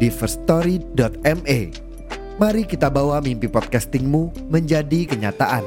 di firststory.me. Mari kita bawa mimpi podcastingmu menjadi kenyataan.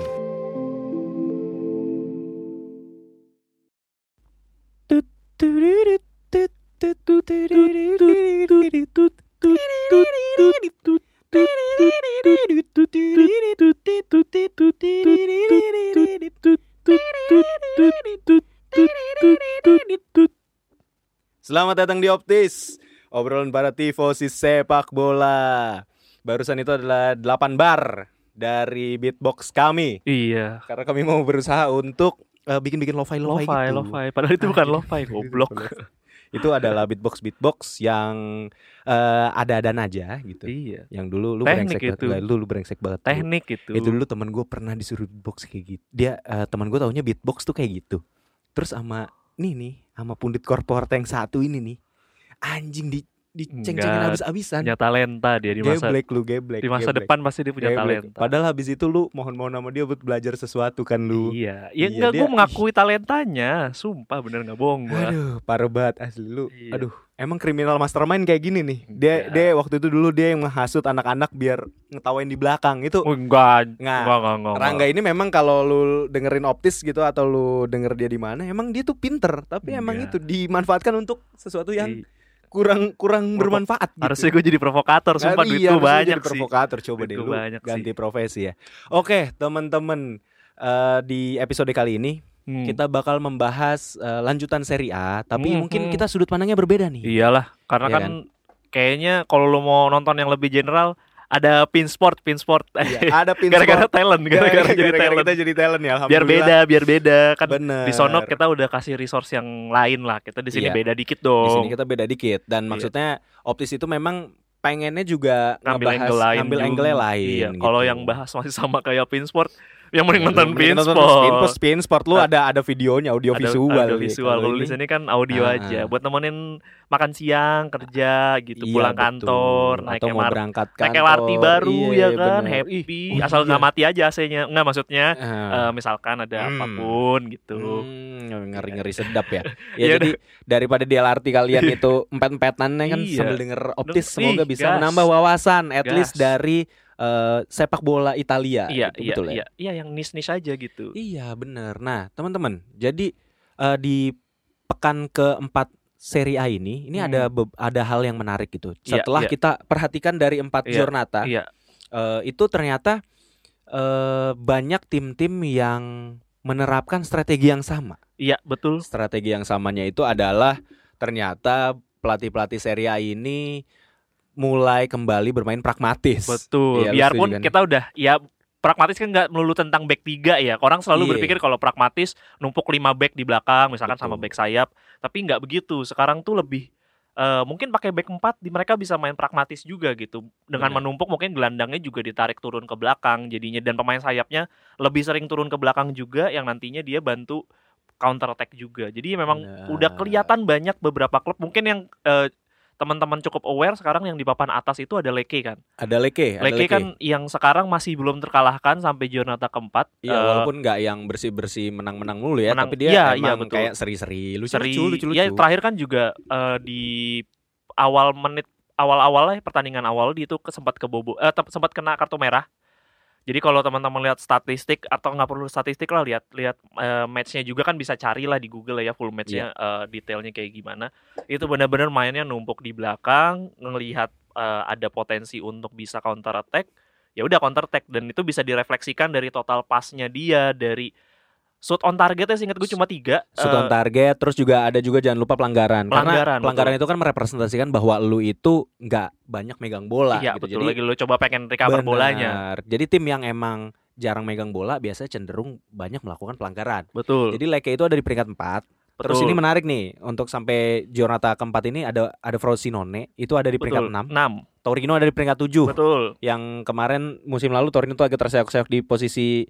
Selamat datang di Optis Obrolan para tifosi sepak bola Barusan itu adalah 8 bar Dari beatbox kami Iya. Karena kami mau berusaha untuk eh, Bikin-bikin lo-fi lo-fi Lo-fi, gitu lo-fi. Padahal itu bukan lo-fi, goblok. Itu adalah beatbox-beatbox yang eh, Ada-adan aja gitu Iya. Yang dulu lu Teknik brengsek itu. banget Lu, lu brengsek banget lu. Teknik itu. Itu dulu teman gue pernah disuruh beatbox kayak gitu. Dia eh, teman gue taunya beatbox tuh kayak gitu. Terus sama nih nih sama pundit korporat yang satu ini nih. Anjing di dicengcengin Enggak, habis-habisan. punya talenta dia di masa Geblek lu geblek. di masa geblek. depan pasti dia punya Geblek. talenta. Padahal habis itu lu mohon-mohon sama dia buat belajar sesuatu kan lu. Iya, ya Iya, enggak dia- gue mengakui talentanya, sumpah bener nggak bohong gua. Aduh, parah banget asli lu. Iya. Aduh, emang kriminal mastermind kayak gini nih. Enggak. Dia dia waktu itu dulu dia yang menghasut anak-anak biar ngetawain di belakang itu. Oh, enggak, Nggak. enggak, enggak, enggak, Rangga ini memang kalau lu dengerin optis gitu atau lu denger dia di mana, emang dia tuh pinter, tapi emang Enggak. itu dimanfaatkan untuk sesuatu yang Iya. kurang kurang Provo- bermanfaat. Gitu. Harusnya gue jadi provokator, Nah, sumpah iya, duit gue harusnya banyak jadi sih. provokator coba Duit deh gua lu banyak ganti profesi ya. Oke, teman-teman eh, di episode kali ini Hmm. kita bakal membahas eh, lanjutan seri A, tapi Hmm, mungkin hmm. kita sudut pandangnya berbeda nih. Iyalah, karena Iya kan, kayaknya kalau lo mau nonton yang lebih general, ada pinsport, pinsport. Iya, ada pin gara-gara sport. talent, gara-gara jadi gara-gara talent. kita jadi talent ya. Biar alhamdulillah. beda, biar beda. Kan Bener. di sono kita udah kasih resource yang lain lah. Kita di sini Iya. beda dikit di sini dong. kita beda dikit Oh. dan Iya. maksudnya optis itu memang pengennya juga ngambil ngebahas- angle lain. ngambil juga. angle lain. Iya, kalau gitu. Iya, yang bahas masih sama kayak pinsport, yang mending nonton Mending pinsport. Pinsport, pinsport lu ada ada videonya audio Ada- visual. ada ya. visual. Kalau Kalau di ini- sini kan audio Ah, aja buat nemenin makan siang, kerja gitu, Iya, pulang betul. kantor, naik atau mau MRT. berangkat Naik kantor. LRT baru Iya, ya kan, bener. happy. Ih, oh Asal nggak iya. mati aja AC-nya. Nggak maksudnya Ah. eh, misalkan ada Hmm. apapun gitu. Hmm, ngeri-ngeri sedap ya. Iya, Ya, jadi daripada di LRT kalian Iya. itu empet-empetannya kan Iya. sambil denger optis Ih, semoga bisa gas. menambah wawasan at least Gas. dari eh, sepak bola Italia Iya, gitu, iya, betul ya. iya, iya yang niche-niche aja gitu. Iya bener Nah teman-teman Jadi eh, di pekan keempat seri A ini Ini Hmm. ada be- ada hal yang menarik gitu Iya, Setelah iya. kita perhatikan dari empat Iya, jornata iya. eh, Itu ternyata eh, banyak tim-tim yang menerapkan strategi yang sama Iya, betul. Strategi yang samanya itu adalah Ternyata pelatih-pelatih seri A ini mulai kembali bermain pragmatis Betul. Iya, lu Biarpun setuju kan? kita udah ya pragmatis kan nggak melulu tentang back tiga ya. Orang selalu Iya. berpikir kalau pragmatis numpuk 5 back di belakang misalkan sama Betul. back sayap, tapi nggak begitu. Sekarang tuh lebih eh, mungkin pakai back 4 di mereka bisa main pragmatis juga gitu. Dengan Benar. menumpuk mungkin gelandangnya juga ditarik turun ke belakang jadinya dan pemain sayapnya lebih sering turun ke belakang juga yang nantinya dia bantu counter attack juga. Jadi memang Benar. udah kelihatan banyak beberapa klub mungkin yang eh, teman-teman cukup aware sekarang yang di papan atas itu ada Leke kan. Ada leke ada Leke kan yang sekarang masih belum terkalahkan sampai Jonata keempat. Iya, Eh, walaupun nggak yang bersih-bersih menang-menang mulu ya, menang- tapi dia iya, iya, emang betul. kayak seri-seri, seri, lucu-lucu, lucu-lucu. ya terakhir kan juga eh, di awal menit awal-awal lah pertandingan awal dia itu ke- sempat kebobo eh, te- sempat kena kartu merah. Jadi kalau teman-teman lihat statistik atau nggak perlu statistik lah lihat lihat eh, matchnya juga kan bisa carilah di Google lah ya full Iya. matchnya eh, detailnya kayak gimana. Itu benar-benar mainnya numpuk di belakang, ngelihat eh, ada potensi untuk bisa counter attack. Ya udah counter attack dan itu bisa direfleksikan dari total pasnya dia dari shoot on targetnya seingat gue cuma tiga Shoot eh, on target, terus juga ada juga jangan lupa pelanggaran. Pelanggaran, Karena pelanggaran itu kan merepresentasikan bahwa lu itu nggak banyak megang bola. Iya betul gitu. Jadi, lagi lo coba pengen recover benar. bolanya. Jadi tim yang emang jarang megang bola biasanya cenderung banyak melakukan pelanggaran. Betul. Jadi Leke itu ada di peringkat 4. Terus betul. ini menarik nih untuk sampai Jonata keempat ini ada ada Frosinone itu ada di peringkat Betul. 6. Enam. Torino ada di peringkat 7 Betul. yang kemarin musim lalu Torino tuh agak terseok-seok di posisi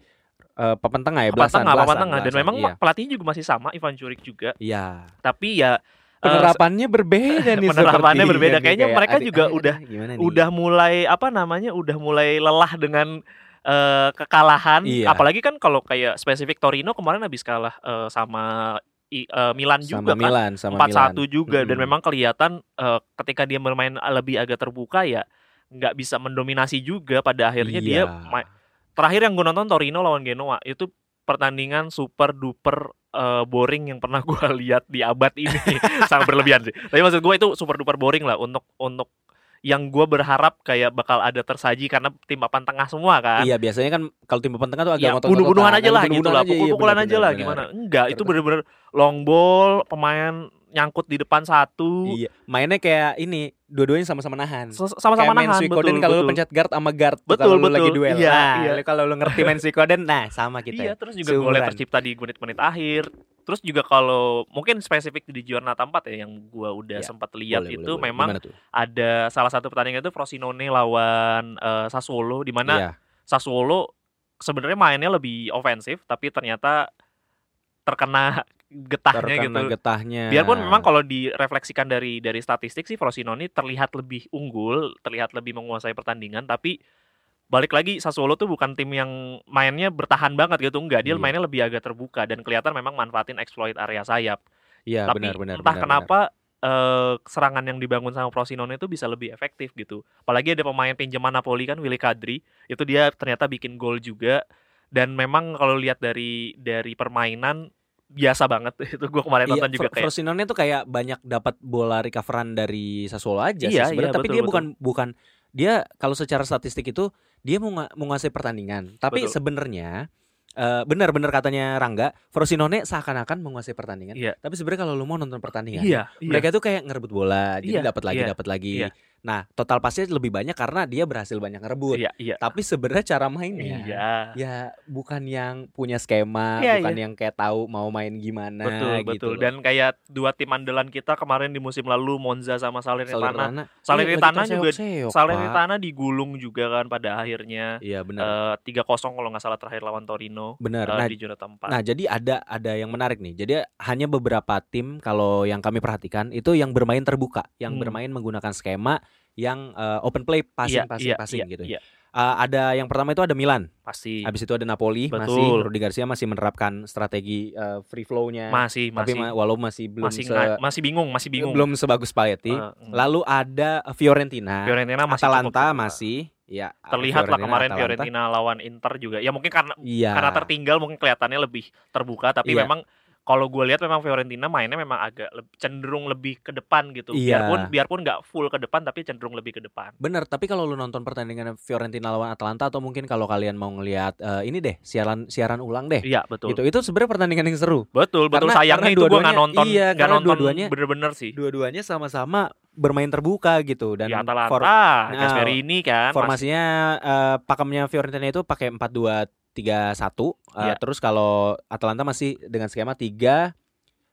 eh, papan tengah ya, Papan belasan, tengah, papan belasan, tengah. Dan belasan, memang iya. pelatihnya juga masih sama Ivan Juric juga. Iya. Tapi ya eh, Penerapannya berbeda nih. penerapannya sepertinya berbeda. nih, Kayaknya kayak mereka adik- juga aduh, udah- gimana nih? udah mulai apa namanya udah mulai lelah dengan eh, kekalahan Iya. apalagi kan kalau kayak spesifik Torino kemarin habis kalah eh, sama I- eh, Milan sama juga kan Milan sama empat Milan. satu juga dan Mm-mm. memang kelihatan eh, ketika dia bermain eh, lebih agak terbuka ya nggak bisa mendominasi juga pada akhirnya dia Iya. ma- terakhir yang gue nonton Torino lawan Genoa itu pertandingan super duper eh, boring yang pernah gue lihat di abad ini sangat berlebihan sih tapi maksud gue itu super duper boring lah untuk untuk yang gue berharap kayak bakal ada tersaji karena tim papan tengah semua kan Iya, biasanya kan kalau tim papan tengah tuh agak ya ngotot-ngototan, bunuh-bunuhan aja kan, lah gitu bunuh-bunuhan lah aja, iya, pukul-pukulan aja benar-benar, lah benar. gimana enggak itu bener-bener long ball pemain nyangkut di depan satu Iya, mainnya kayak ini, dua-duanya sama-sama nahan. Ses- sama-sama Kayak main nahan Suikoden betul kalau lu betul. pencet guard sama guard tuh Betul, kalau lu lagi betul. duel. Iya, nah, iya. lu kalau lu ngerti main Suikoden, nah sama kita. Iya, terus juga Seumuran. golnya tercipta di menit-menit akhir. Terus juga kalau mungkin spesifik di Giornata 4 ya yang gua udah Iya, sempat lihat Boleh, itu boleh, boleh. memang Gimana tuh? ada salah satu pertandingan itu Frosinone lawan eh, Sassuolo di mana Iya. Sassuolo sebenarnya mainnya lebih ofensif tapi ternyata terkena getahnya terkena gitu. getahnya. Biarpun memang kalau direfleksikan dari dari statistik sih Frosinone terlihat lebih unggul, terlihat lebih menguasai pertandingan, tapi balik lagi Sassuolo tuh bukan tim yang mainnya bertahan banget gitu, enggak, dia Iya. mainnya lebih agak terbuka dan kelihatan memang manfaatin exploit area sayap. Iya, tapi benar benar. entah benar, kenapa eh, serangan yang dibangun sama Frosinone itu bisa lebih efektif gitu. Apalagi ada pemain pinjaman Napoli kan Willy Kadri, itu dia ternyata bikin gol juga dan memang kalau lihat dari dari permainan biasa banget itu gua kemarin Iya, nonton juga Fro- kayak Frosinone tuh kayak banyak dapat bola recoveran dari Sassuolo aja Iya, sih sebenarnya, iya, tapi betul, dia betul. bukan bukan dia kalau secara statistik itu dia mau nga- mau menguasai pertandingan, tapi Betul. sebenarnya eh, benar-benar katanya Rangga, Frosinone seakan-akan menguasai pertandingan. Iya. Tapi sebenarnya kalau lu mau nonton pertandingan, Iya, mereka tuh kayak ngerebut bola, jadi Iya, dapat lagi, iya, dapat lagi. iya. Nah, total pasnya lebih banyak karena dia berhasil banyak ngerebut. Iya, iya. Tapi sebenarnya cara mainnya Iya. ya bukan yang punya skema, Iya, bukan iya. yang kayak tahu mau main gimana betul, gitu. betul. loh. Dan kayak dua tim andalan kita kemarin di musim lalu Monza sama Salernitana. Salernitana. Iya, Salernitana juga seok Salernitana digulung juga kan pada akhirnya Iya benar. eh, 3-0 kalau nggak salah terakhir lawan Torino benar. eh, Nah, di juara tempat. nah, jadi ada ada yang menarik nih. Jadi hanya beberapa tim kalau yang kami perhatikan itu yang bermain terbuka, yang Hmm. bermain menggunakan skema yang eh, open play Iya, passing passing iya, passing iya, gitu. Iya, Eh, ada yang pertama itu ada Milan, pasti. habis itu ada Napoli, masih Betul. Rudi Garcia masih menerapkan strategi eh, free flow-nya. masih masih tapi ma- walau masih belum masih se- nga- masih bingung, masih bingung. belum sebagus Paletti. Eh, mm. Lalu ada Fiorentina, Fiorentina masih cukup Atalanta terbuka. masih ya terlihat lah Fiorentina, kemarin Atalanta. Fiorentina lawan Inter juga. Ya mungkin karena Iya. karena tertinggal mungkin kelihatannya lebih terbuka tapi Iya. memang kalau gue lihat memang Fiorentina mainnya memang agak leb- cenderung lebih ke depan gitu Iya. biarpun biarpun nggak full ke depan tapi cenderung lebih ke depan Bener, tapi kalau lu nonton pertandingan Fiorentina lawan Atalanta atau mungkin kalau kalian mau ngelihat eh, ini deh siaran siaran ulang deh, iya betul gitu. Itu sebenarnya pertandingan yang seru. betul betul Karena- sayangnya karena itu gue nggak dua-duanya- nonton iya, nggak karena nonton dua-duanya- bener-bener sih Dua-duanya sama-sama bermain terbuka gitu dan di Atalanta for, for- Nah, ini kan masih- formasinya eh, pakemnya Fiorentina itu pakai 4-2-3-1. eh, Iya. Terus kalau Atalanta masih dengan skema 3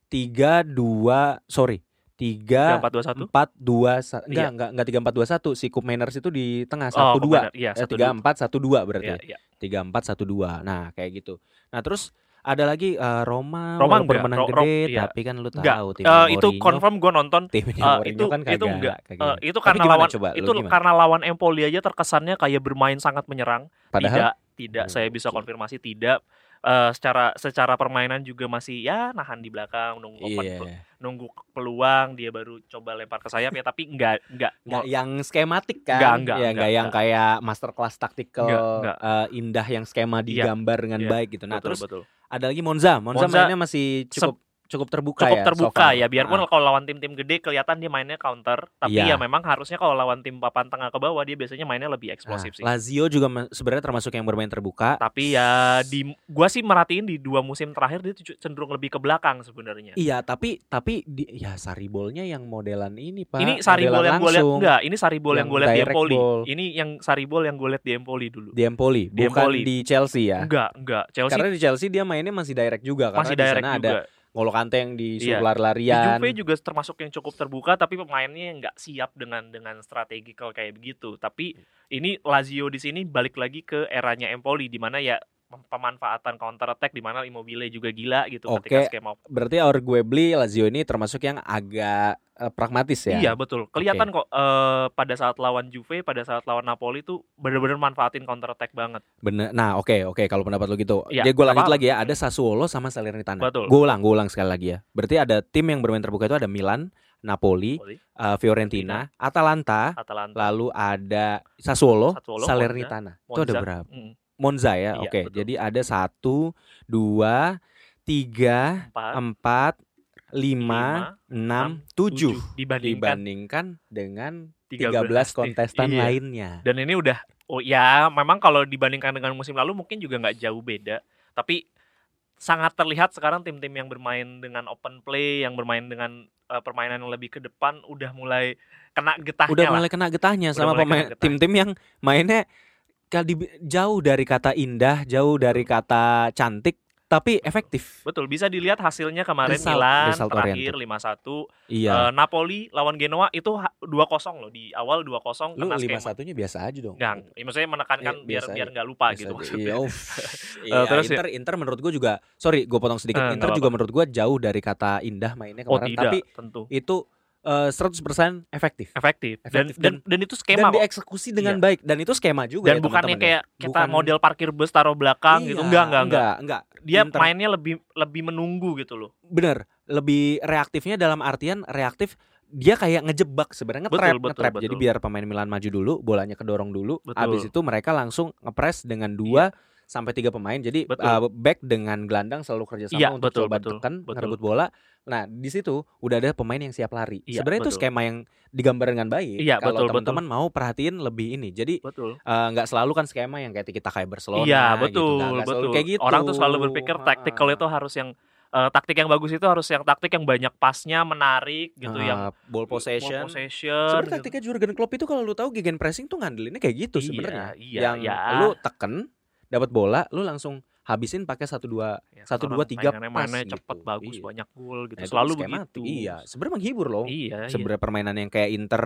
3 2 sorry, 3 empat dua satu empat dua sa- enggak Iya. enggak enggak tiga empat dua satu si Coop Manners itu di tengah satu dua iya Eh, satu tiga dua. empat satu dua Iya, berarti ya? iya. tiga empat satu dua nah kayak gitu nah terus ada lagi eh, Roma Roma walaupun enggak, menang Ro- Ro- gede iya. tapi kan lu Enggak, tahu tim Eh, itu confirm gue nonton timnya Eh, Mourinho itu kan kagak itu enggak kagak. Eh, itu Tapi karena gimana lawan coba, lu itu gimana? karena lawan Empoli aja terkesannya kayak bermain sangat menyerang padahal tidak tidak Hmm, saya bisa oke. konfirmasi tidak Eh, secara secara permainan juga masih ya nahan di belakang nunggu open- iya nunggu peluang dia baru coba lempar ke sayap ya tapi enggak enggak mau- Enggak yang skematik Enggak, kan enggak, ya, enggak, enggak, yang kayak masterclass taktikal Enggak, enggak. eh, indah yang skema digambar dengan iya, baik gitu nah betul terus betul ada lagi Monza Monza Monza, mainnya masih cukup cukup terbuka cukup ya so terbuka far. ya biarpun Ah, kalau lawan tim-tim gede kelihatan dia mainnya counter tapi ya Iya. memang harusnya kalau lawan tim papan tengah ke bawah dia biasanya mainnya lebih eksplosif Nah, sih Lazio juga me- sebenarnya termasuk yang bermain terbuka. tapi ya di gua sih merhatiin di dua musim terakhir dia tuh cenderung lebih ke belakang sebenarnya Iya, tapi tapi di, ya saribolnya yang modelan ini pak. ini Saribol yang Modelan gue lihat langsung enggak, ini Saribol yang, Yang gue lihat di direct Iya. Empoli. ball. Ini yang Saribol yang gue lihat di Empoli dulu. di Empoli, Di bukan Empoli. di Chelsea ya. Enggak, enggak. Hmm, Chelsea Karena di Chelsea dia mainnya masih direct juga karena masih di direct sana ada juga. Ngolo Kante yang Iya. disuruh Di lari-larian. Juve juga termasuk yang cukup terbuka tapi pemainnya nggak siap dengan dengan strategikal kayak begitu. Tapi ini Lazio di sini balik lagi ke eranya Empoli di mana ya pem- pemanfaatan counter attack di mana Immobile juga gila gitu ketika Oke. skema. Berarti our gue beli Lazio ini termasuk yang agak eh, pragmatis ya. Iya betul. Kelihatan kok eh, pada saat lawan Juve, pada saat lawan Napoli tuh bener-bener manfaatin counter attack banget. Bener. Nah, oke, oke. Kalau pendapat lo gitu, Iya, jadi gue lanjut apa-apa. lagi ya. Ada Sassuolo sama Salernitana. Betul. Gue ulang, gue ulang sekali lagi ya. Berarti ada tim yang bermain terbuka itu ada Milan, Napoli, Napoli, eh, Fiorentina, Atalanta, Atalanta, lalu ada Sassuolo, Sassuolo, Salernitana. Itu ada Monza. berapa? mm, Monza ya. Iya, oke. betul. Jadi ada satu, dua, tiga, empat, empat, lima, lima, enam, tujuh tujuh. dibandingkan Dibandingkan dengan 13, 13 kontestan Iya. lainnya. Dan ini udah oh ya memang kalau dibandingkan dengan musim lalu mungkin juga nggak jauh beda, tapi sangat terlihat sekarang tim-tim yang bermain dengan open play, yang bermain dengan eh, permainan yang lebih ke depan udah mulai kena getahnya udah lah. mulai kena getahnya Udah sama mulai kena pemain getah. tim-tim yang mainnya kali di- jauh dari kata indah, jauh dari kata cantik, tapi efektif. Betul, bisa dilihat hasilnya kemarin Result- Milan result terakhir oriented. 5-1, Iya. Eh, Napoli lawan Genoa itu ha- 2-0 loh di awal 2-0 Lu kena lima skema. satunya biasa aja dong. Nggak, ya maksudnya menekankan Eh, biar biasa biar aja. nggak lupa Biasa gitu aja. maksudnya. Iya, uff. Eh, Iya, terus ya? Inter, Inter menurut gue juga, sorry gue potong sedikit. Eh, nggak Inter juga menurut gue jauh dari kata indah mainnya Oh kemarin, tidak, tapi tentu itu eh, 100% efektif. efektif. Dan, Efektif dan dan itu skema dan kok. Iya. dieksekusi dengan baik dan itu skema juga Dan ya, bukannya teman-teman ya. kayak kita Bukan- model parkir bus taruh belakang gitu. Iya, Enggak, enggak, enggak. enggak, enggak. Dia Inter- mainnya lebih lebih menunggu gitu loh. bener lebih reaktifnya dalam artian reaktif dia kayak ngejebak sebenarnya Betul, ngetrap betul, ngetrap. jadi betul. biar pemain Milan maju dulu bolanya kedorong dulu Betul. Iya. habis itu mereka langsung ngepres dengan dua sampai tiga pemain jadi Betul. uh, back dengan gelandang selalu kerja sama Iya, untuk betul, coba betul, tekan betul. ngerebut bola nah di situ udah ada pemain yang siap lari Iya, sebenarnya itu betul. skema yang digambar dengan baik Iya, kalau betul, betul. teman-teman mau perhatiin lebih ini jadi Betul. uh, nggak selalu kan skema yang kayak kita kayak Barcelona iya, gitu. betul, Nggak- nggak selalu betul. kayak gitu Ah. Orang tuh selalu berpikir tactical Heeh. itu harus yang eh, taktik yang bagus itu harus yang taktik yang banyak pasnya, menarik gitu yang Ah, ball ball possession. possession, Sebenarnya gitu. taktiknya Jurgen Klopp itu kalau lu tahu gegen pressing tuh ngandelinnya kayak gitu Iya, sebenarnya. iya, yang iya. lu teken, dapat bola, lu langsung habisin pakai satu dua. Ya, satu, sekarang dua, tiga, mainannya- pas mainannya gitu. cepet bagus Iya. banyak gol gitu Nah, itu selalu skematik. begitu Iya, sebenarnya menghibur loh. iya iya. Sebenarnya permainan yang kayak Inter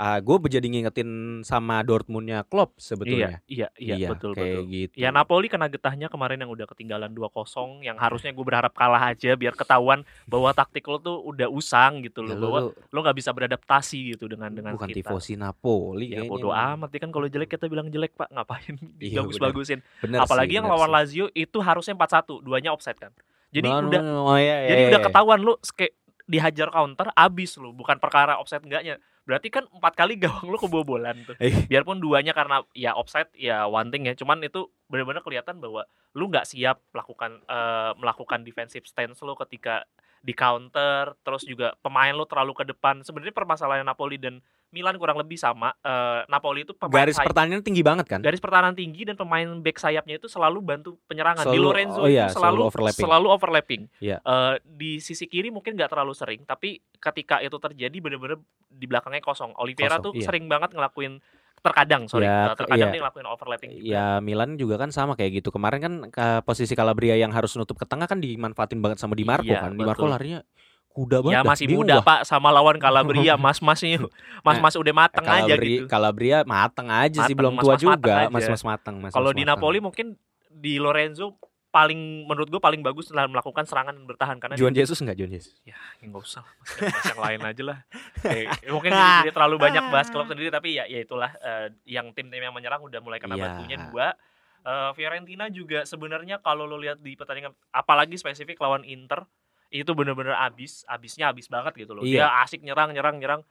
gue jadi ngingetin sama Dortmundnya iya Klopp sebetulnya. iya iya, betul kayak betul gitu. Ya Napoli kena getahnya kemarin yang udah ketinggalan 2-0 yang harusnya gue berharap kalah aja biar ketahuan bahwa taktik lo tuh udah usang gitu loh Ya, lu bahwa tuh lo nggak bisa beradaptasi gitu dengan dengan bukan kita. tifosi Napoli Ya kayaknya bodo nih. amat ya kan kalau jelek kita bilang jelek Pak, ngapain Iya, bagus-bagusin. Bener sih, Apalagi yang bener lawan sih. Lazio itu harusnya 4-1, duanya offside kan. Jadi Bener, udah bener, oh, iya, jadi iya, udah iya. ketahuan lu ske- dihajar counter abis lu, bukan perkara offside enggaknya. Berarti kan empat kali gawang lu kebobolan tuh Eh, biarpun duanya karena ya offside ya one thing ya cuman itu benar-benar kelihatan bahwa lu nggak siap melakukan eh, melakukan defensive stance lu ketika di counter terus juga pemain lu terlalu ke depan sebenarnya permasalahan Napoli dan Milan kurang lebih sama Eh, Napoli itu pemain Garis say- pertanyaan tinggi banget kan? garis pertahanan tinggi dan pemain back sayapnya itu selalu bantu penyerangan di Selalu- Lorenzo oh iya, itu selalu selalu overlapping. selalu overlapping. Iya. Eh, di sisi kiri mungkin nggak terlalu sering tapi ketika itu terjadi bener-bener di belakangnya kosong Oliveira Kosong, tuh iya. sering banget ngelakuin terkadang sorry Ya, eh, terkadang iya. dia ngelakuin overlapping juga. Ya Milan juga kan sama kayak gitu. Kemarin kan ke- posisi Calabria yang harus nutup ke tengah kan dimanfaatin banget sama Di Marco Iya, kan. Di Marco betul. larinya kuda banget. Ya dah, masih bingung muda gua. Pak sama lawan Calabria mas-masnya mas-mas udah Eh, mateng aja Calabria- gitu. Calabria mateng aja sih Mateng, belum tua mas-mas mateng juga, aja. mas-mas mateng. mas-mas Kalau di mateng. Napoli mungkin di Lorenzo paling menurut gue paling bagus dalam melakukan serangan dan bertahan karena dia- Juan Jesus enggak Juan Jesus. ya nggak usah lah, Mas. Bahas yang lain aja lah Eh, mungkin jadi, Nah. jadi terlalu banyak bahas klub sendiri tapi ya ya itulah eh, yang tim-tim yang menyerang udah mulai kena Iya. batunya dua Eh, Fiorentina juga sebenarnya kalau lo lihat di pertandingan apalagi spesifik lawan Inter itu bener-bener abis abisnya abis banget gitu loh dia Iya. asik nyerang nyerang nyerang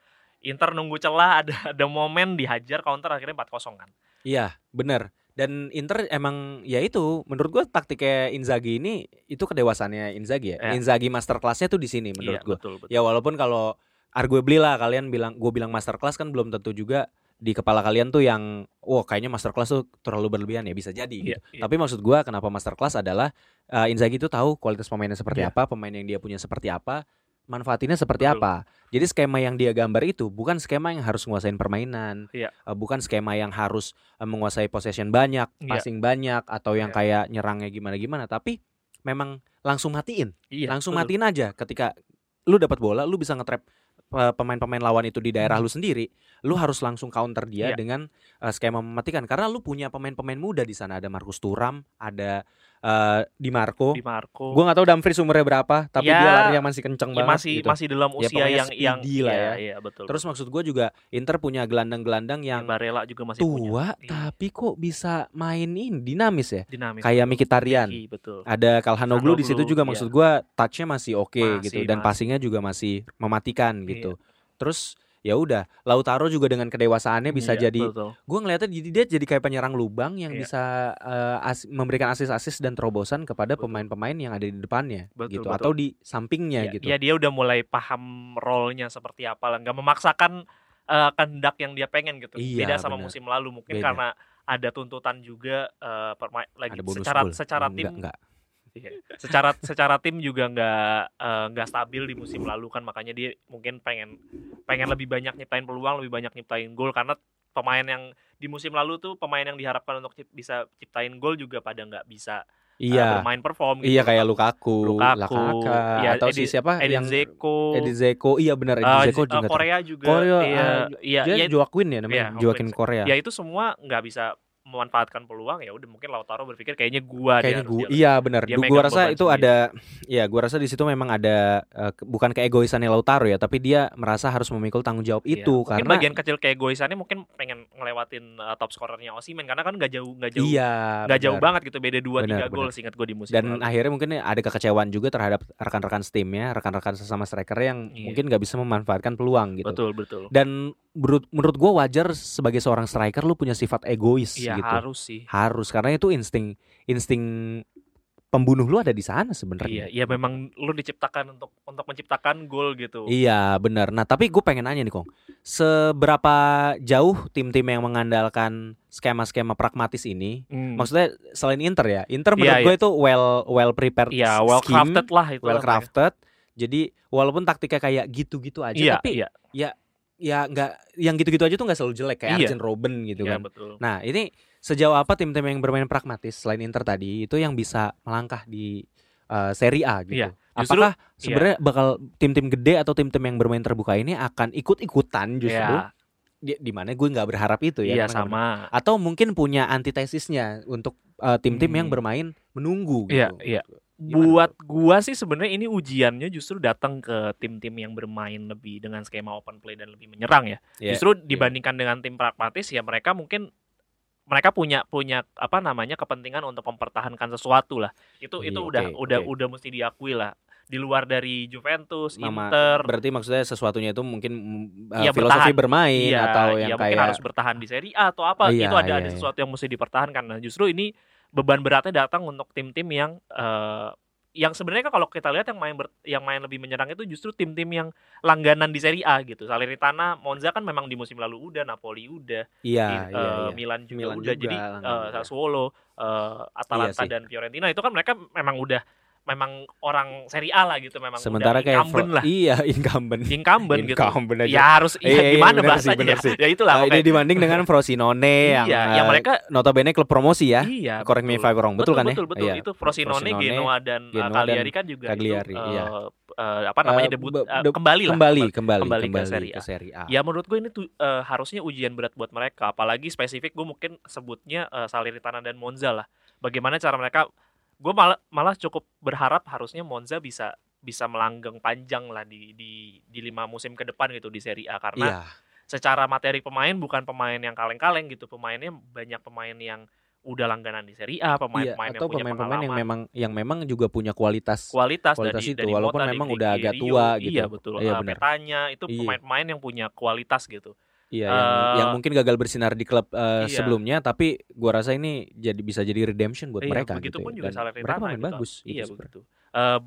Inter nunggu celah ada ada momen dihajar counter akhirnya 4-0 kan Iya, bener Dan Inter emang ya itu menurut gua taktiknya Inzaghi ini itu kedewasannya Inzaghi ya. Iya. Inzaghi masterclassnya tuh di sini Iya, menurut gua betul, betul. Ya walaupun kalau argue belilah kalian bilang gue bilang masterclass kan belum tentu juga di kepala kalian tuh yang wah kayaknya masterclass tuh terlalu berlebihan ya bisa jadi Iya, gitu. iya. Tapi maksud gua kenapa masterclass adalah eh, Inzaghi itu tahu kualitas pemainnya seperti Iya. apa, pemain yang dia punya seperti apa, manfaatinnya seperti Betul. apa. Jadi skema yang dia gambar itu bukan skema yang harus nguasain permainan, Iya. eh, bukan skema yang harus eh, menguasai possession banyak, Iya. passing banyak atau yang Iya. kayak nyerangnya gimana-gimana, tapi memang langsung matiin Iya. langsung betul. matiin aja ketika lu dapat bola lu bisa ngetrap eh, pemain-pemain lawan itu di daerah lu sendiri lu harus langsung counter dia Hmm. Iya. dengan eh, skema mematikan karena lu punya pemain-pemain muda di sana ada Markus Turam ada eh, Di Marco Di Marco. gue nggak tahu Dumfries umurnya berapa tapi Ya, dia larinya masih kenceng Ya, banget masih gitu. masih dalam Ya, usia pokoknya yang yang speedy lah iya, ya. iya, betul. terus maksud gue juga Inter punya gelandang-gelandang yang Barella juga Iya, masih punya tua Iya. tapi kok bisa mainin dinamis ya dinamis. kayak Mkhitaryan Ricky, betul. ada Kalhanoglu di situ Kalhanoglu, juga Gitu. iya. maksud gua touchnya masih oke Masih, Iya. gitu dan masih. passingnya juga masih mematikan gitu. Terus ya udah Lautaro juga dengan kedewasaannya bisa Iya, jadi ya betul. gua ngelihatnya jadi dia jadi kayak penyerang lubang yang Iya. bisa eh, as- memberikan asis-asis dan terobosan kepada Betul. pemain-pemain yang ada di depannya Betul, gitu betul. atau di Ya, sampingnya gitu. ya, dia udah mulai paham role-nya seperti apa lah, nggak memaksakan eh, kehendak yang dia pengen gitu. Iya, Beda sama benar. musim lalu mungkin Beda. karena ada tuntutan juga eh, perma- lagi Ada bonus secara goal. secara Enggak, tim enggak. Iya. secara secara tim juga nggak eh, nggak stabil di musim lalu kan makanya dia mungkin pengen pengen lebih banyak nyiptain peluang lebih banyak nyiptain gol karena pemain yang di musim lalu tuh pemain yang diharapkan untuk cip- bisa ciptain gol juga pada nggak bisa eh, Iya. bermain perform gitu. Iya kayak Lukaku, Lukaku, Laka, iya, atau si Edi- siapa Edin yang Dzeko, Edin Dzeko. Iya benar Edin eh, Dzeko J- eh, juga. ter- Korea juga Korea, eh, iya, iya, Dia iya, Joaquin ya Iya, namanya, Joaquin. Joaquin Korea. ya itu semua nggak bisa memanfaatkan peluang ya udah mungkin Lautaro berpikir kayaknya gua dia kayaknya harus gue jalan. iya benar dia Gu- megang gua rasa beban itu sendiri. ada ya gua rasa di situ memang ada eh, ke- bukan keegoisannya Lautaro ya tapi dia merasa harus memikul tanggung jawab Iya, itu mungkin karena bagian kecil kayak goisannya mungkin pengen ngelewatin uh, top scorernya Osimen karena kan nggak jauh nggak jauh iya nggak jauh benar. banget gitu beda 2 Benar, 3 gol benar. seingat gue di musim dan lalu. akhirnya mungkin ada kekecewaan juga terhadap rekan-rekan timnya rekan-rekan sesama striker yang Iya. mungkin nggak bisa memanfaatkan peluang gitu betul betul dan menurut menurut gue wajar sebagai seorang striker lu punya sifat egois iya gitu harus sih harus karena itu insting insting pembunuh lu ada di sana iya sebenarnya iya memang lu diciptakan untuk untuk menciptakan gol gitu Iya benar. Nah tapi gue pengen nanya nih Kong, seberapa jauh tim-tim yang mengandalkan skema-skema pragmatis ini? Hmm. Maksudnya selain Inter ya, Inter Iya, menurut iya. gue itu well well prepared, iya well scheme, crafted lah itu well lah. crafted. Jadi walaupun taktiknya kayak gitu-gitu aja, iya tapi iya ya nggak yang gitu-gitu aja tuh nggak selalu jelek kayak Iya. Arjen Robben gitu iya kan. betul Nah ini sejauh apa tim-tim yang bermain pragmatis selain Inter tadi itu yang bisa melangkah di eh, Serie A gitu? Iya, justru- Apakah sebenarnya bakal tim-tim gede atau tim-tim yang bermain terbuka ini akan ikut-ikutan justru? ya, iya Di, di mana gue nggak berharap itu ya? iya karena nggak berharap. sama Atau mungkin punya antitesisnya untuk eh, tim-tim yang Hmm. bermain menunggu Iya, gitu. iya. Gimana buat gua sih sebenarnya ini ujiannya justru datang ke tim-tim yang bermain lebih dengan skema open play dan lebih menyerang ya Iya, Justru dibandingkan dengan tim pragmatis ya mereka mungkin mereka punya punya apa namanya kepentingan untuk mempertahankan sesuatu lah. Itu Iya, itu oke, udah udah oke. udah mesti diakui lah. Di luar dari Juventus, Nama- Inter, Berarti maksudnya sesuatunya itu mungkin mm, eh, Iya, filosofi bertahan. bermain iya, atau iya, yang mungkin kayak harus bertahan di Serie A atau apa. Iya, itu ada iya, ada iya. sesuatu yang mesti dipertahankan. Nah, justru ini beban beratnya datang untuk tim-tim yang eh, yang sebenarnya kan kalau kita lihat yang main ber- yang main lebih menyerang itu justru tim-tim yang langganan di Serie A gitu. Salernitana, Monza kan memang di musim lalu udah, Napoli udah. Di, iya, iya, eh, iya. Milan juga Milan udah juga, jadi Langganan eh, juga. Sassuolo, eh, Atalanta Iya sih. dan Fiorentina itu kan mereka memang udah memang orang Serie A lah gitu memang udah Sementara kayak incumbent Fro- lah iya incumbent. incumbent gitu Incumbent aja. ya harus Iya, ya iya, gimana bener sih, bahasanya bener ya? sih. ya itulah Eh, ini makanya. dibanding dengan Frosinone yang, iya, yang eh, mereka notabene klub promosi ya. iya Correct me if I wrong, betul, kan ya? betul betul Iya. itu Frosinone, Frosinone, Genoa dan eh, Genoa dan Cagliari kan juga Cagliari, itu, eh, iya. eh, apa namanya Eh, debut be- eh, de- kembali lah kembali, kembali, kembali kembali, ke Serie A. ke Serie A. Ya menurut gue ini tuh eh, harusnya ujian berat buat mereka. Apalagi spesifik gue mungkin sebutnya eh, Salernitana dan Monza lah. Bagaimana cara mereka? Gue malah malah cukup berharap harusnya Monza bisa bisa melanggeng panjang lah di di di lima musim ke depan gitu di Serie A karena Iya, secara materi pemain bukan pemain yang kaleng-kaleng gitu. Pemainnya banyak pemain yang udah langganan di Serie A, iya, pemain-pemain yang atau punya pemain-pemain yang pengalaman, memang yang memang juga punya kualitas. kualitas, kualitas dari itu, dari walaupun Mota, dari memang Grigi, udah agak Rio, tua Iya gitu. betul. Iya, Eh, benar. Petanya itu Iya. pemain-pemain yang punya kualitas gitu. Iya, yang, yang Eh, mungkin gagal bersinar di klub iya. eh, sebelumnya tapi gua rasa ini jadi bisa jadi redemption buat Iya, mereka gitu. Begitupun ya. juga Dan Salernitana mereka main gitu. bagus gitu Iya sebenarnya. begitu. Eh,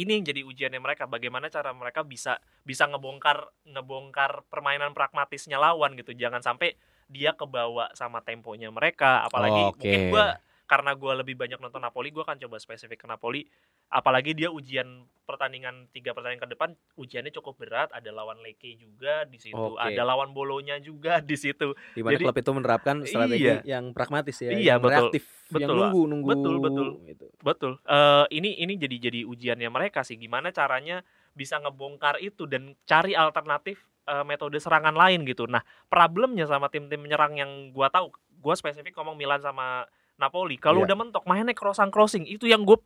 ini yang jadi ujiannya mereka bagaimana cara mereka bisa bisa ngebongkar ngebongkar permainan pragmatisnya lawan gitu. Jangan sampai dia kebawa sama temponya mereka apalagi Oke. mungkin gua karena gue lebih banyak nonton Napoli gue akan coba spesifik ke Napoli apalagi dia ujian pertandingan tiga pertandingan ke depan ujiannya cukup berat ada lawan Leke juga di situ Oke. ada lawan Bolonya juga di situ Di mana Jadi- klub itu menerapkan strategi Iya. yang pragmatis ya, Iya, yang betul. reaktif, yang Betul, nunggu nunggu. Betul, betul. gitu. betul Eh ini ini jadi jadi ujiannya mereka sih gimana caranya bisa ngebongkar itu dan cari alternatif eh, metode serangan lain gitu nah problemnya sama tim-tim menyerang yang gue tahu gue spesifik ngomong Milan sama Napoli kalau Iya. udah mentok mainnya crossing crossing itu yang gue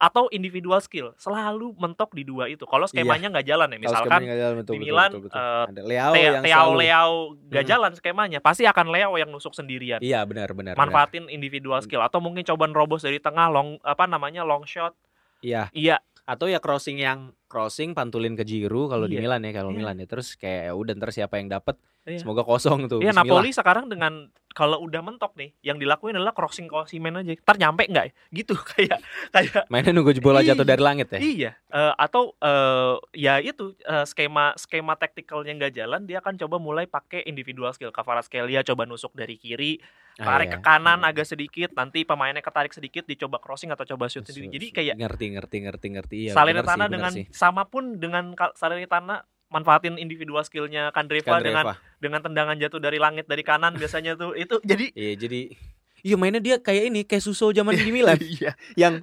atau individual skill selalu mentok di dua itu kalau skemanya nggak jalan ya Iya. Kalau misalkan skemanya jalan, betul, di betul, Milan, betul, betul. eh, ada Leao Te- yang Teao selalu- Leao gak Mm. jalan skemanya pasti akan Leao yang nusuk sendirian Iya, benar benar. benar. manfaatin individual skill atau mungkin coba nerobos dari tengah long apa namanya long shot Iya. iya Atau ya crossing yang crossing pantulin ke Jiru kalau di Iya. Milan ya, kalau Iya. Milan ya. Terus kayak ya udah ntar siapa yang dapat Iya. semoga kosong tuh. Iya Gitu, Bismillah. Napoli sekarang dengan kalau udah mentok nih, yang dilakuin adalah crossing crossing aja. Ntar nyampe nggak? ya? Gitu kayak kayak Mainnya nunggu bola jatuh Iya. dari langit ya. iya Eh, atau eh, ya itu eh, skema skema taktikalnya nggak jalan, dia akan coba mulai pakai individual skill. Kvaratskhelia coba nusuk dari kiri, Ah, tarik ke iya. kanan Iya. agak sedikit, nanti pemainnya ketarik sedikit, dicoba crossing atau coba shoot sendiri. Jadi kayak ngerti ngerti ngerti ngerti iya. benar sih, Salernitana benar dengan sih. sama pun dengan Ka- Salernitana manfaatin individual skillnya Kandreva, dengan Kandreva. dengan tendangan jatuh dari langit dari kanan biasanya tuh itu jadi Iya jadi Iya mainnya dia kayak ini kayak Suso zaman di Milan Iya. yang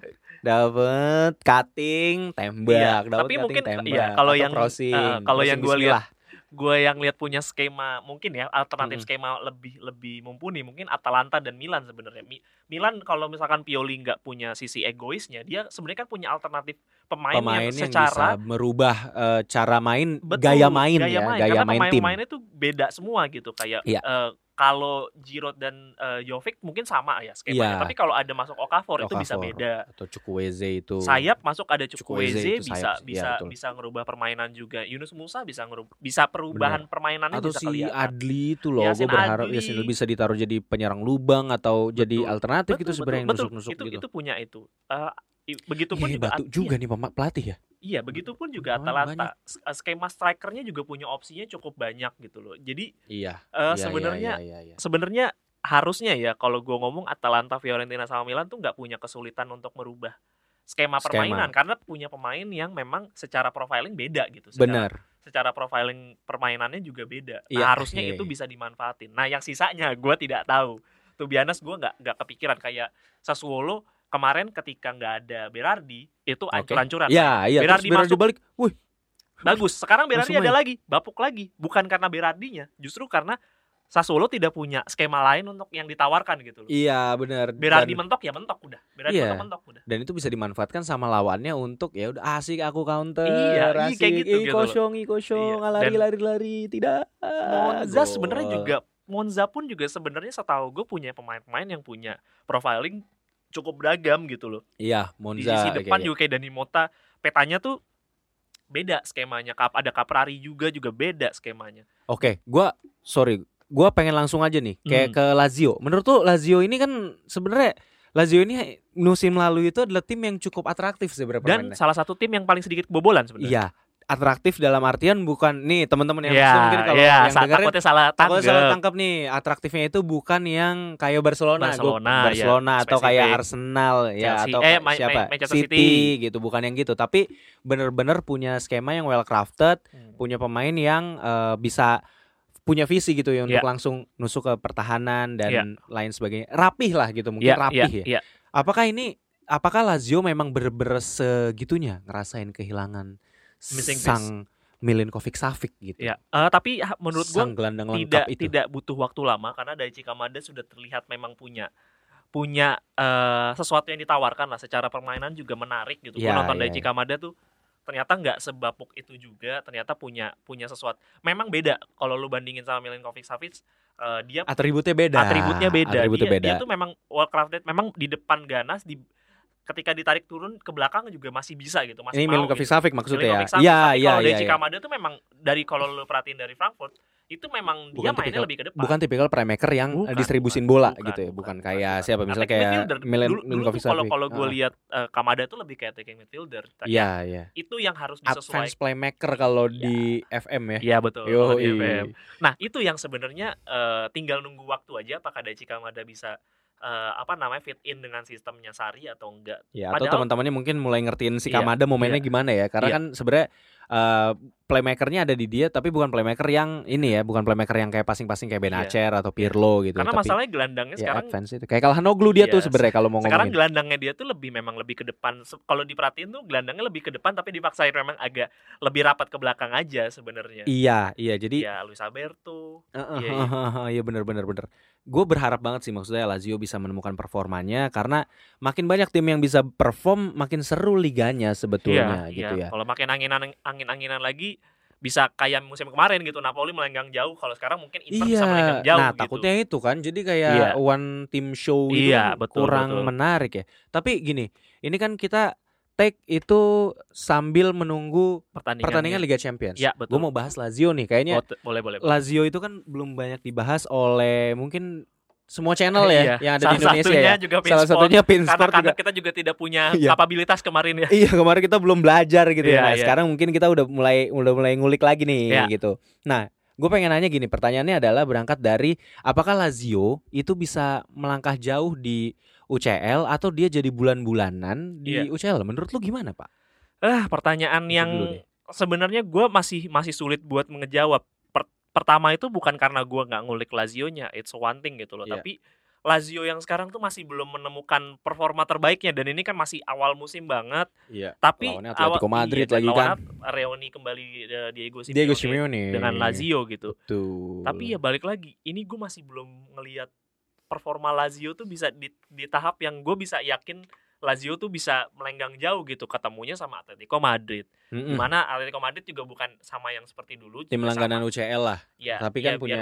dapat cutting tembak Iya, dapat tapi cutting mungkin- tembak iya, kalau atau yang- crossing eh, kalau crossing yang gua bismillah. gue yang lihat punya skema mungkin ya alternatif Mm-mm. skema lebih lebih mumpuni mungkin Atalanta dan Milan sebenarnya Mi- Milan kalau misalkan Pioli nggak punya sisi egoisnya dia sebenarnya kan punya alternatif pemain, pemain yang, yang secara bisa merubah eh, cara main betul, gaya main ya gaya karena main tim pemain-pemainnya tuh beda semua gitu kayak Iya. eh, kalau Giroud dan eh, Jovic mungkin sama ya skemanya Iya. tapi kalau ada masuk Okafor, itu bisa Okafor beda atau Chukwueze itu sayap masuk ada Chukwueze Chukwueze itu bisa sayap sih, bisa iya, betul. bisa ngerubah permainan juga Yunus Musa bisa ngerubah bisa perubahan permainannya atau bisa si kelihatan. Adli itu loh gue Yasin berharap Adli. Yasin Adli bisa ditaruh jadi penyerang lubang atau jadi Betul. alternatif gitu Betul, sebenarnya yang betul, nusuk-nusuk itu, gitu Itu punya itu. Eh, i- begitupun Iya, juga batu At- juga Iya, nih pemak- pelatih ya iya, begitupun juga Pemain Atalanta S- eh, skema strikernya juga punya opsinya cukup banyak gitu loh. Jadi iya eh, iya, iya, sebenarnya iya, iya. sebenarnya harusnya ya kalau gue ngomong Atalanta, Fiorentina sama Milan tuh nggak punya kesulitan untuk merubah skema Skema. permainan karena punya pemain yang memang secara profiling beda gitu. Secara, benar secara profiling permainannya juga beda. Nah, Iya, harusnya iya, itu iya. bisa dimanfaatin. Nah, yang sisanya gue tidak tahu. Tuh biasanya gue nggak nggak kepikiran kayak Sassuolo kemarin ketika nggak ada Berardi itu Oke. ancur-ancuran. ya iya Berardi terus Berardi masuk. balik wih Bagus. Sekarang Berardi Langsung ada lagi, bapuk lagi. Bukan karena Berardinya, justru karena Sassuolo tidak punya skema lain untuk yang ditawarkan gitu loh. iya benar Berardi Dan- mentok ya mentok udah. Berardi Iya. mentok mentok udah. dan itu bisa dimanfaatkan sama lawannya untuk ya udah asik aku counter Iya, iya, asik kayak gitu, ih, gitu loh. kosong ih, kosong Iya, lari dan- lari lari tidak Monza Gol. sebenarnya juga Monza pun juga sebenarnya setahu gue punya pemain-pemain yang punya profiling cukup beragam gitu loh. iya di Monza sisi kayak- depan juga kayak Dani Mota petanya tuh beda skemanya Kap- ada Caprari juga juga beda skemanya Oke, gua sorry, gua pengen langsung aja nih kayak Hmm. ke Lazio. Menurut tuh Lazio ini kan sebenarnya Lazio ini musim lalu itu adalah tim yang cukup atraktif dan sebenarnya permainannya. salah satu tim yang paling sedikit kebobolan sebenarnya Iya, atraktif dalam artian bukan nih teman-teman yang Iya, Muslim mungkin kalau iya, yang sa- dengerin takutnya salah Takutnya salah tanggap. tangkap nih atraktifnya itu bukan yang kayak Barcelona, Gua- Barcelona, Barcelona ya, atau kayak spesifik. Arsenal ya Chelsea. atau Eh, kayak Ma- Ma- siapa Manchester City, City. gitu bukan yang gitu tapi bener-bener punya skema yang well crafted punya pemain yang eh, bisa punya visi gitu ya Iya. untuk langsung nusuk ke pertahanan dan Iya. lain sebagainya rapih lah gitu mungkin Iya, rapih iya, ya iya. apakah ini apakah Lazio memang bener-bener segitunya ngerasain kehilangan Missing sang Milinkovic Savic gitu Iya. Eh, tapi ha- menurut gue sang gelandang tidak lengkap itu tidak butuh waktu lama karena Daichi Kamada sudah terlihat memang punya punya eh, sesuatu yang ditawarkan lah secara permainan juga menarik gitu. Gue Iya, nonton iya, Daichi Kamada tuh ternyata nggak sebapuk itu juga, ternyata punya punya sesuatu. Memang beda kalau lu bandingin sama Milinkovic Savic, eh, dia atributnya beda atributnya beda. atributnya dia, beda dia tuh memang well crafted, memang di depan ganas di ketika ditarik turun ke belakang juga masih bisa gitu, masih ini mau. Milinkovic gitu. Savic maksudnya ya Milinkovic Savic, iya tapi iya kalau iya Daichi iya. Kamada tuh memang dari kalau lu perhatiin dari Frankfurt itu memang dia Bukan mainnya tipikal- lebih ke depan. bukan tipikal playmaker yang eh, Bukan, distribusin bukan, bola bukan, gitu ya bukan, bukan, kayak bukan. siapa misalnya Attacking kayak midfielder. Milen- Dulu- dulu Milinkovic tuh kalau Savic kalau gue Ah. lihat ya, eh, Kamada tuh lebih kayak attacking midfielder. Kayak Iya, iya. Itu yang harus Advance disesuaikan. playmaker kalau di FM ya. Iya betul. kalau Yo, di FM. Nah itu yang sebenarnya eh, tinggal nunggu waktu aja apakah Daichi Kamada bisa eh, apa namanya fit in dengan sistemnya Sari atau enggak. Ya, atau Padahal- teman-temannya mungkin mulai ngertiin si Iya, Kamada mau mainnya gimana ya. Iya. Karena kan sebenarnya eh, playmakernya ada di dia tapi bukan playmaker yang ini ya, bukan playmaker yang kayak passing-passing kayak Benacer atau Pirlo gitu. Iya. Karena tapi masalahnya gelandangnya ya sekarang advance itu. Kayak Kalhanoglu dia tuh Iya, sebenarnya kalau mau sekarang ngomongin. gelandangnya dia tuh lebih memang lebih ke depan. Se- Kalau diperhatiin tuh gelandangnya lebih ke depan tapi dipaksain memang agak lebih rapat ke belakang aja sebenarnya. Iya, iya. Jadi Ya Luis Alberto. Heeh, Iya, heeh, iya bener bener bener. Gue berharap banget sih maksudnya Lazio bisa menemukan performanya karena makin banyak tim yang bisa perform makin seru Iya, liganya sebetulnya gitu ya. Kalau makin angin angin-anginan lagi bisa kayak musim kemarin gitu Napoli melenggang jauh kalau sekarang mungkin Inter bisa melenggang jauh nah gitu. takutnya itu kan, jadi kayak Iya. one team show itu Iya, kan betul, kurang betul. menarik ya. Tapi gini, ini kan kita take itu sambil menunggu pertandingan pertandingan Liga Champions. Ya, betul. Gue mau bahas Lazio nih, kayaknya Bo- boleh boleh. Lazio itu kan belum banyak dibahas oleh mungkin semua channel ya Iya. yang ada Salah di Indonesia satunya ya. juga Salah Pinsport. satunya karena Pinsport karena juga. kita juga tidak punya Iya. kapabilitas kemarin ya. Iya kemarin kita belum belajar gitu Iya, ya. Nah, iya. Sekarang mungkin kita udah mulai udah mulai ngulik lagi nih Iya. gitu. Nah, gue pengen nanya gini. Pertanyaannya adalah berangkat dari apakah Lazio itu bisa melangkah jauh di UCL atau dia jadi bulan-bulanan di Iya. UCL? Menurut lu gimana pak? Ah, pertanyaan Itu yang dulu deh. sebenarnya gue masih masih sulit buat ngejawab. Per- pertama itu bukan karena gue nggak ngulik Lazio-nya, it's one thing gitu loh. Iya. Tapi Lazio yang sekarang tuh masih belum menemukan performa terbaiknya dan ini kan masih awal musim banget. Iya. Tapi iya, Lawannya Atletico Madrid dan lagi lawan kan. At- Reoni kembali eh, Diego Simeone, Diego Simeone dengan Lazio gitu. Tuh. Tapi ya balik lagi, ini gue masih belum ngelihat performa Lazio tuh bisa di, di tahap yang gue bisa yakin Lazio tuh bisa melenggang jauh gitu ketemunya sama Atletico Madrid. Mm-mm. Dimana Atletico Madrid juga bukan sama yang seperti dulu. Hmm. tim juga langganan sama. UCL lah. Ya, Tapi ya, kan punya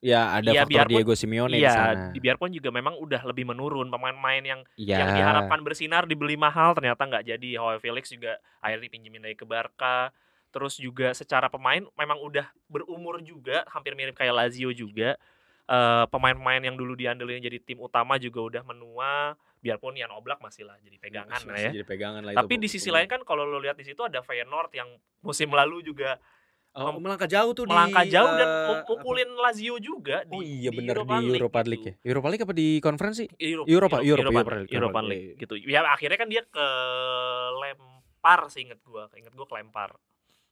ya ada Iya, faktor biarpun- Diego biar, Simeone iya, di sana. di- biarpun juga memang udah lebih menurun pemain-pemain yang Iya. yang diharapkan bersinar dibeli mahal ternyata nggak jadi. Joao Felix juga akhirnya pinjemin lagi ke Barca. Terus juga secara pemain memang udah berumur juga, hampir mirip kayak Lazio juga. Eh, pemain-pemain yang dulu diandelin jadi tim utama juga udah menua, biarpun Yan Oblak masih lah jadi pegangan lah ya. Jadi pegangan lah itu, Tapi Bu. di sisi lain kan kalau lo lihat di situ ada Feyenoord yang musim lalu juga Oh, melangkah jauh tuh melangkah di, jauh dan eh, muk- apa? mukulin Lazio juga di, Oh iya di bener di Europa League Europa gitu. League ya. Europa League apa di konferensi? Euro- Europa, Euro- Europa Europa, Europa League, League, Europa Europa League gitu. Ya akhirnya kan dia ke lempar sih inget gua, inget gua kelempar.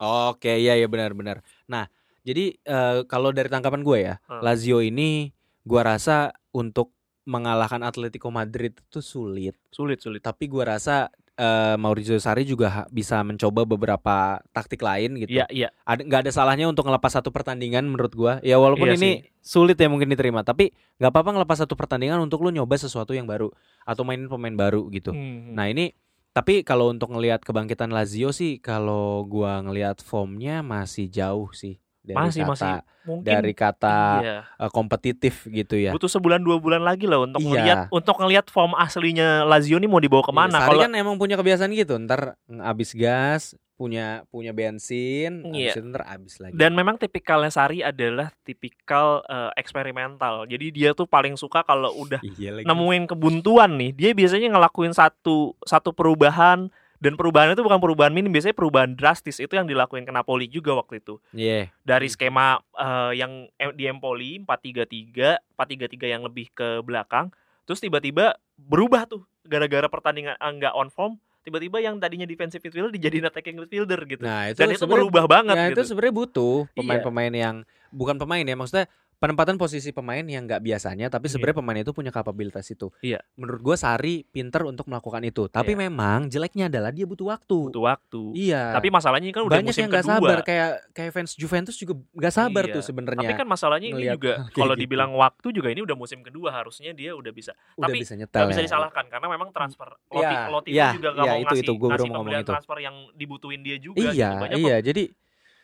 Oke, iya iya benar-benar. Nah, jadi eh, kalau dari tangkapan gue ya, Hmm. Lazio ini gua rasa untuk mengalahkan Atletico Madrid itu sulit. Sulit, sulit. Tapi gua rasa eh, Maurizio Sarri juga ha- bisa mencoba beberapa taktik lain gitu. Iya, iya. Ada nggak ada salahnya untuk ngelepas satu pertandingan menurut gua. Ya walaupun Iya ini sulit ya mungkin diterima, tapi nggak apa-apa ngelepas satu pertandingan untuk lu nyoba sesuatu yang baru atau mainin pemain baru gitu. Hmm. Nah ini tapi kalau untuk ngelihat kebangkitan Lazio sih kalau gua ngelihat formnya masih jauh sih dari Masih, kata masih. mungkin dari kata iya. eh, kompetitif gitu ya. butuh sebulan dua bulan lagi loh untuk Iya. ngelihat untuk ngelihat form aslinya Lazio ini mau dibawa kemana Iya, Sarri kalau kan emang punya kebiasaan gitu, ntar abis gas punya punya bensin, Iya. abis itu ntar abis lagi. dan memang tipikalnya Sari adalah tipikal eh, eksperimental. Jadi dia tuh paling suka kalau udah iya lagi. nemuin kebuntuan nih dia biasanya ngelakuin satu satu perubahan dan perubahan itu bukan perubahan minim biasanya perubahan drastis itu yang dilakuin ke Napoli juga waktu itu Iya. dari skema eh, yang em- di Empoli 4-3-3 4-3-3 yang lebih ke belakang terus tiba-tiba berubah tuh gara-gara pertandingan eh, nggak on form tiba-tiba yang tadinya defensive midfielder dijadiin attacking midfielder gitu Nah itu dan itu sebenarnya- berubah banget Nah itu gitu sebenarnya butuh pemain-pemain yang bukan pemain ya maksudnya penempatan posisi pemain yang nggak biasanya tapi Iya. sebenarnya pemain itu punya kapabilitas itu. Iya. Menurut gua Sari pinter untuk melakukan itu tapi memang jeleknya adalah dia butuh waktu. butuh waktu Iya. tapi masalahnya ini kan udah banyak musim yang nggak kedua sabar kayak kayak fans Juventus juga nggak sabar Iya. tuh sebenarnya. Tapi kan masalahnya ini ngelihat juga kayak kalau gitu. dibilang waktu juga ini udah musim kedua harusnya dia udah bisa. Udah tapi bisa nyetel. Gak bisa ya. disalahkan karena memang transfer Loti, Iya, Loti iya, juga gak iya, mau itu- ngasih, itu, gua baru ngasih mau ngomong pembelian itu. transfer yang dibutuhin dia juga. gitu. Iya, Banyak iya. Jadi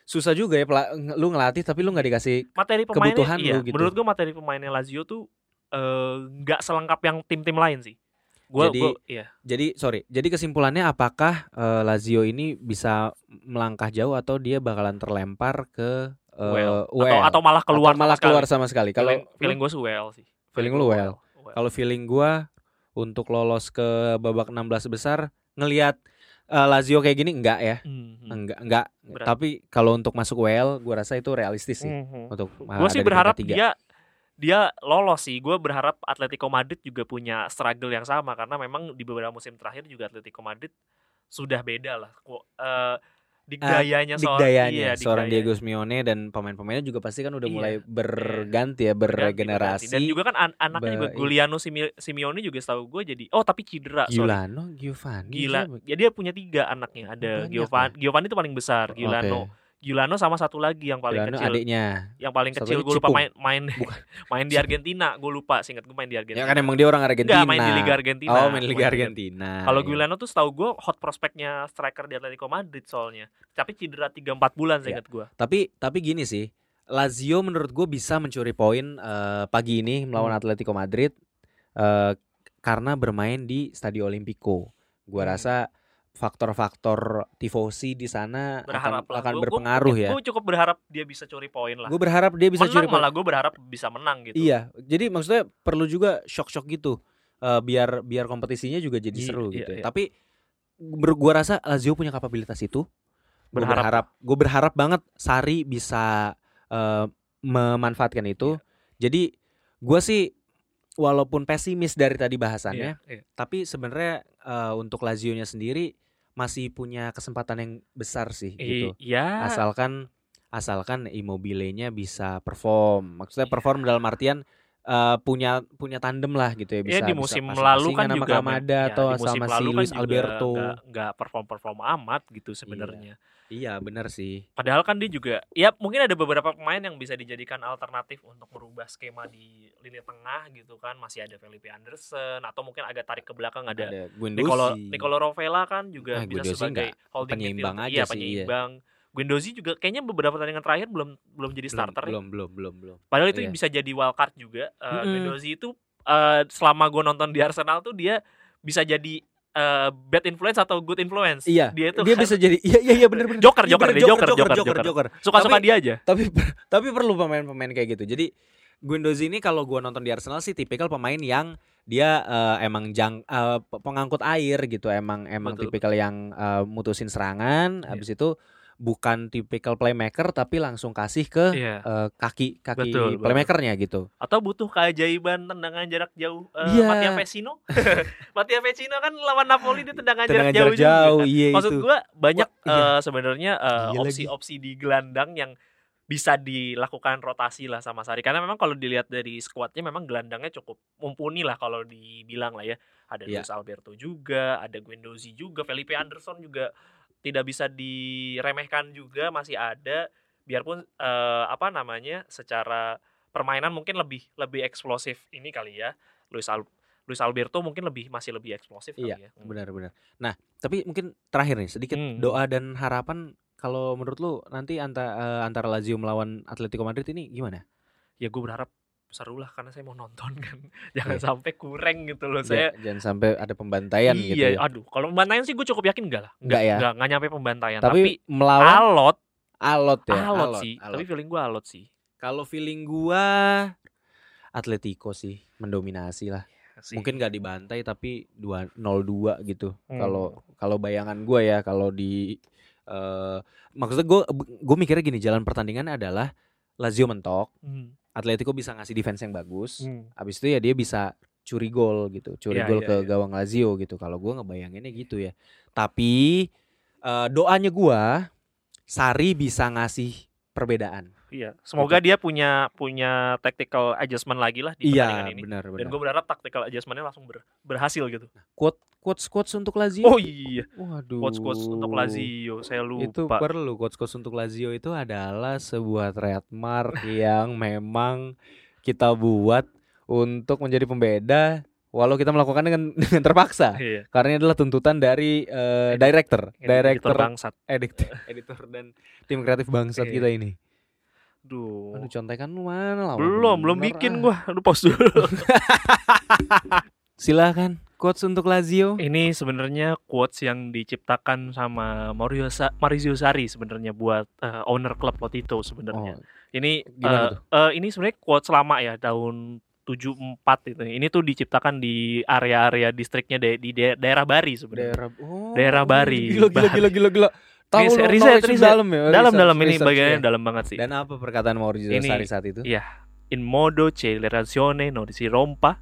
susah juga ya pela- nge- lu ngelatih tapi lu nggak dikasih materi pemainnya, kebutuhan iya, lu gitu. menurut gua materi pemainnya Lazio tuh eh, nggak selengkap yang tim-tim lain sih. Gua, Jadi- gua iya. Jadi sorry, jadi kesimpulannya apakah eh, Lazio ini bisa melangkah jauh atau dia bakalan terlempar ke eh, Well. UEL? atau atau malah keluar Atau sama malah sekali. keluar sama sekali. Kalau feeling, feeling gue suel sih. Feeling gua lu E well. well. kalau feeling gua untuk lolos ke babak 16 besar ngelihat eh, Lazio kayak gini enggak ya? Mhm. Enggak, enggak. Berat. Tapi kalau untuk eh, masuk UEL gua rasa itu realistis sih. Mhm. Untuk Gue sih berharap dia dia lolos sih. Gue berharap Atletico Madrid juga punya struggle yang sama karena memang di beberapa musim terakhir juga Atletico Madrid sudah beda lah. Ku- eh, di Ah, gayanya soal Dikdayanya, iya, di seorang gayanya. Diego Simeone dan pemain-pemainnya juga pasti kan udah Iya. mulai berganti ya, Ganti, berregenerasi. berganti. Dan juga kan an- anaknya Ba- juga iya. Giuliano Simi- Simeone juga setahu gue jadi oh tapi cedera sorry. Giuliano, Giovanni. Gila. siapa? Jadi dia punya tiga anaknya. Ada Banyak ya. Giovanni, Giovanni itu paling besar, Giuliano. Oke. Giuliano sama satu lagi yang paling Giuliano kecil. adiknya. Yang paling satu kecil lagi gue lupa Cipung. main main main di Argentina, gue lupa singkat gue main di Ya Argentina. kan emang dia orang Argentina. Enggak, main di Liga Argentina. Oh, main di Liga Main di- Argentina. Kalau Iya. Giuliano tuh setahu gue hot prospeknya striker di Atletico Madrid soalnya. Tapi cedera 3-4 bulan Iya. seingat gue. Tapi tapi gini sih, Lazio menurut gue bisa mencuri poin eh, pagi ini melawan Hmm. Atletico Madrid eh, karena bermain di Stadio Olimpico. Gua Hmm. rasa faktor-faktor tifosi di sana akan, Berharap lah. akan Gua- gua- berpengaruh ya. Gue cukup berharap dia bisa curi poin lah. Gue berharap dia bisa menang curi poin. malah gue berharap bisa menang gitu. Iya, jadi maksudnya perlu juga shock-shock gitu eh, biar biar kompetisinya juga jadi Iya, seru iya, gitu. ya. iya. Tapi ber- gua rasa Lazio punya kapabilitas itu. Gue Berharap. berharap, gue berharap banget Sari bisa eh, memanfaatkan Iya. itu. Jadi gua sih walaupun pesimis dari tadi bahasannya, Iya, iya. tapi sebenarnya eh, untuk Lazio-nya sendiri masih punya kesempatan yang besar sih gitu. Iya. asalkan asalkan Immobile-nya bisa perform. Maksudnya Iya. perform dalam artian eh, punya punya tandem lah gitu ya bisa. Iya di bisa musim pasang-pasingan lalu kan sama juga Kamada men- atau iya, di musim sama si lalu kan Luis juga Alberto. nggak- nggak perform perform amat gitu sebenarnya. Iya, benar sih. Padahal kan dia juga ya mungkin ada beberapa pemain yang bisa dijadikan alternatif untuk merubah skema di lini tengah gitu kan masih ada Felipe Anderson atau mungkin agak tarik ke belakang ada, Ada Guendouzi. Nicolo Nicolo Rovella kan juga Ah, bisa Guendouzi sebagai nggak, holding penyeimbang midfield. aja iya, sih, iya. penyeimbang. Guendouzi juga kayaknya beberapa pertandingan terakhir belum belum jadi Belum- starter ya. Belum, belum, belum, belum. Padahal itu Iya. bisa jadi wildcard juga. Eh, Mm-mm. Guendouzi itu eh, selama gue nonton di Arsenal tuh dia bisa jadi eh, bad influence atau good influence. Iya. Dia itu Dia kan bisa jadi iya iya iya benar benar. Joker, Iya, joker, bener, dia joker, joker, joker. suka-suka dia aja. tapi tapi perlu pemain-pemain kayak gitu. Jadi Guendouzi ini kalau gua nonton di Arsenal sih tipikal pemain yang dia eh, emang jang eh, pe- pengangkut air gitu. Emang emang Betul. tipikal yang eh, mutusin serangan Iya. habis itu bukan tipikal playmaker tapi langsung kasih ke Iya. eh, kaki kaki Betul, betul. playmakernya gitu. Atau butuh keajaiban tendangan jarak jauh eh, Iya. Mattia Vecino. Mattia Vecino kan lawan Napoli dia tendangan, Tendangan jarak, jauh, jarak juga jauh, kan. iya Maksud itu. gue banyak Wah, iya. eh, sebenarnya eh, Iya lagi. opsi-opsi di gelandang yang bisa dilakukan rotasi lah sama Sari karena memang kalau dilihat dari skuadnya memang gelandangnya cukup mumpuni lah kalau dibilang lah ya ada Iya. Luis Alberto juga ada Guendouzi juga Felipe Anderson juga tidak bisa diremehkan juga masih ada biarpun eh, apa namanya secara permainan mungkin lebih lebih eksplosif ini kali ya Luis Al Luis Alberto mungkin lebih masih lebih eksplosif kali ya Iya, Hmm. benar-benar. Nah, tapi mungkin terakhir nih sedikit Hmm. doa dan harapan kalau menurut lu nanti antara antara Lazio melawan Atletico Madrid ini gimana? ya gue berharap seru lah karena saya mau nonton kan Iya. jangan sampai kurang gitu loh saya Ja- jangan sampai ada pembantaian gitu. iya ya. aduh kalau pembantaian sih gue cukup yakin enggak lah Nggak ya? enggak, enggak nyampe pembantaian iya, tapi, Tapi, melawan alot alot ya. alot, sih alot. tapi feeling gue alot sih kalau feeling gua Atletico sih mendominasi lah. Sih. Iya Mungkin gak dibantai tapi 2 0-2 gitu. Hmm. Kalau kalau bayangan gua ya kalau di eh maksudnya gua gua mikirnya gini, jalan pertandingan adalah Lazio mentok, Hmm, Atletico bisa ngasih defense yang bagus. hmm. Abis itu ya dia bisa curi gol gitu, curi Iya, gol iya, ke iya. gawang Lazio gitu. Kalau gua ngebayanginnya gitu ya. Tapi eh, doanya gua Sari bisa ngasih perbedaan. iya semoga dia punya punya tactical adjustment lagi lah di Iya, pertandingan ini benar dan benar. gue berharap tactical adjustmentnya langsung ber- berhasil gitu Quote quotes quotes untuk Lazio. oh iya Waduh. quotes quotes untuk Lazio saya lupa Itu perlu quotes quotes untuk Lazio itu adalah sebuah trademark yang memang kita buat untuk menjadi pembeda walau kita melakukan dengan, dengan terpaksa. iya karena ini adalah tuntutan dari eh, director, Editor director, bangsat editor, editor dan tim kreatif bangsat Iya. kita ini. Duh. Aduh contekan lu mana lah? belum belum Bener, bikin gua ah. lu pause dulu Silakan quotes untuk Lazio. Ini sebenarnya quotes yang diciptakan sama Mario Sa- Maurizio Sarri sebenarnya buat eh, owner klub Lotito Oh, sebenarnya. Ini eh, gimana tuh? eh, ini sebenarnya quotes lama ya tahun 74 itu. Ini tuh diciptakan di area-area distriknya da- di da- daerah Bari sebenarnya. Daerah oh, daerah Bari. Gila gila gila gila gila. Tahu Riset, dong, riset, knowledge riset. dalam ya. Dalam-dalam research, ini research, bagiannya ya. dalam banget sih. Dan apa perkataan Maurizio Ini- Sarri saat itu? Iya. in modo celerazione non si rompa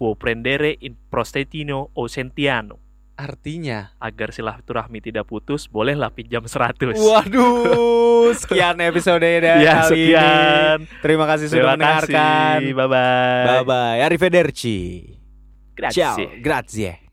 può prendere in prostetino o sentiano Artinya, agar silaturahmi tidak putus bolehlah pinjam 100 waduh, sekian episode dari ya kali ini. sekian Iya, Terima kasih sudah terima mendengarkan. kasih bye bye Bye bye. Arrivederci. grazie Ciao. Grazie.